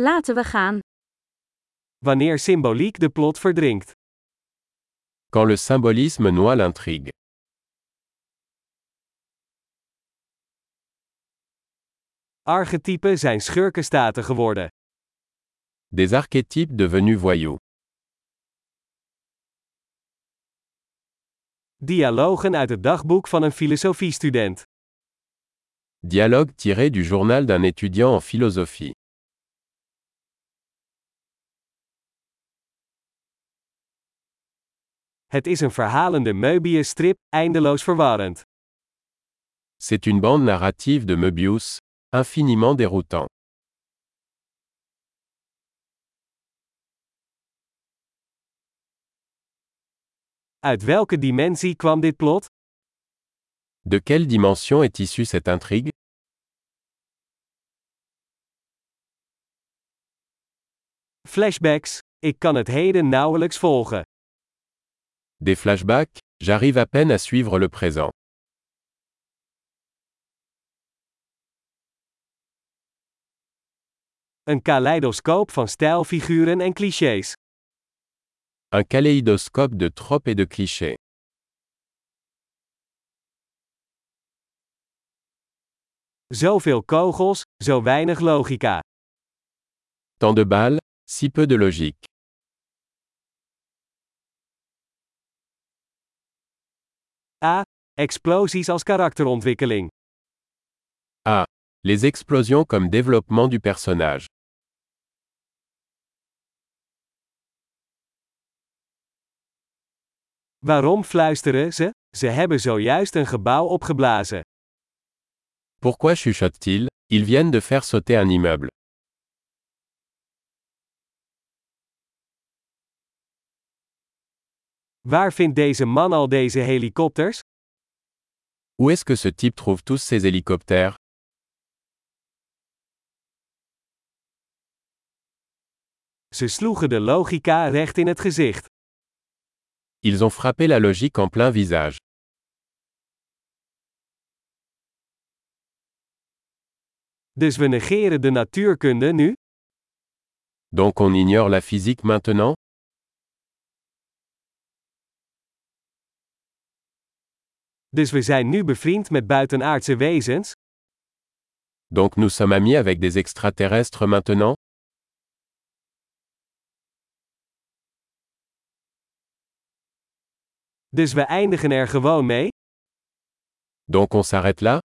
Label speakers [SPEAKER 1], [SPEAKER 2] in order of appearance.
[SPEAKER 1] Laten we gaan.
[SPEAKER 2] Wanneer symboliek de plot verdrinkt.
[SPEAKER 3] Quand le symbolisme noie l'intrigue.
[SPEAKER 2] Archetypen zijn schurkenstaten geworden.
[SPEAKER 3] Des archétypes devenus voyous.
[SPEAKER 2] Dialogen uit het dagboek van een filosofiestudent.
[SPEAKER 3] Dialogue tiré du journal d'un étudiant en philosophie.
[SPEAKER 2] Het is een verhalende Möbius-strip, eindeloos verwarrend.
[SPEAKER 3] C'est une bande narrative de Möbius, infiniment déroutant.
[SPEAKER 2] Uit welke dimensie kwam dit plot?
[SPEAKER 3] De quelle dimension est issue cette intrigue
[SPEAKER 2] Flashbacks, ik kan het heden nauwelijks volgen.
[SPEAKER 3] Des flashbacks, j'arrive à peine à suivre le présent.
[SPEAKER 2] Een kaleidoscoop van stijlfiguren en clichés.
[SPEAKER 3] Un kaléidoscope de tropes et de clichés.
[SPEAKER 2] Zoveel kogels, zo weinig logica.
[SPEAKER 3] Tant de balles, si peu de logique.
[SPEAKER 2] A. Explosies als karakterontwikkeling.
[SPEAKER 3] Les explosions comme développement du personnage.
[SPEAKER 2] Waarom fluisteren ze? Ze hebben zojuist een gebouw opgeblazen.
[SPEAKER 3] Pourquoi chuchote-t-il Ils viennent de faire sauter un immeuble.
[SPEAKER 2] Waar vindt deze man al deze helikopters?
[SPEAKER 3] Où est-ce que ce type trouve tous ces hélicoptères
[SPEAKER 2] Ze sloegen de logica recht in het gezicht.
[SPEAKER 3] Ils ont frappé la logique en plein visage.
[SPEAKER 2] Dus we negeren de natuurkunde nu?
[SPEAKER 3] Donc on ignore la physique maintenant
[SPEAKER 2] Dus we zijn nu bevriend met buitenaardse wezens?
[SPEAKER 3] Donc nous sommes amis avec des extraterrestres maintenant
[SPEAKER 2] Dus we eindigen er gewoon mee?
[SPEAKER 3] Donc on s'arrête là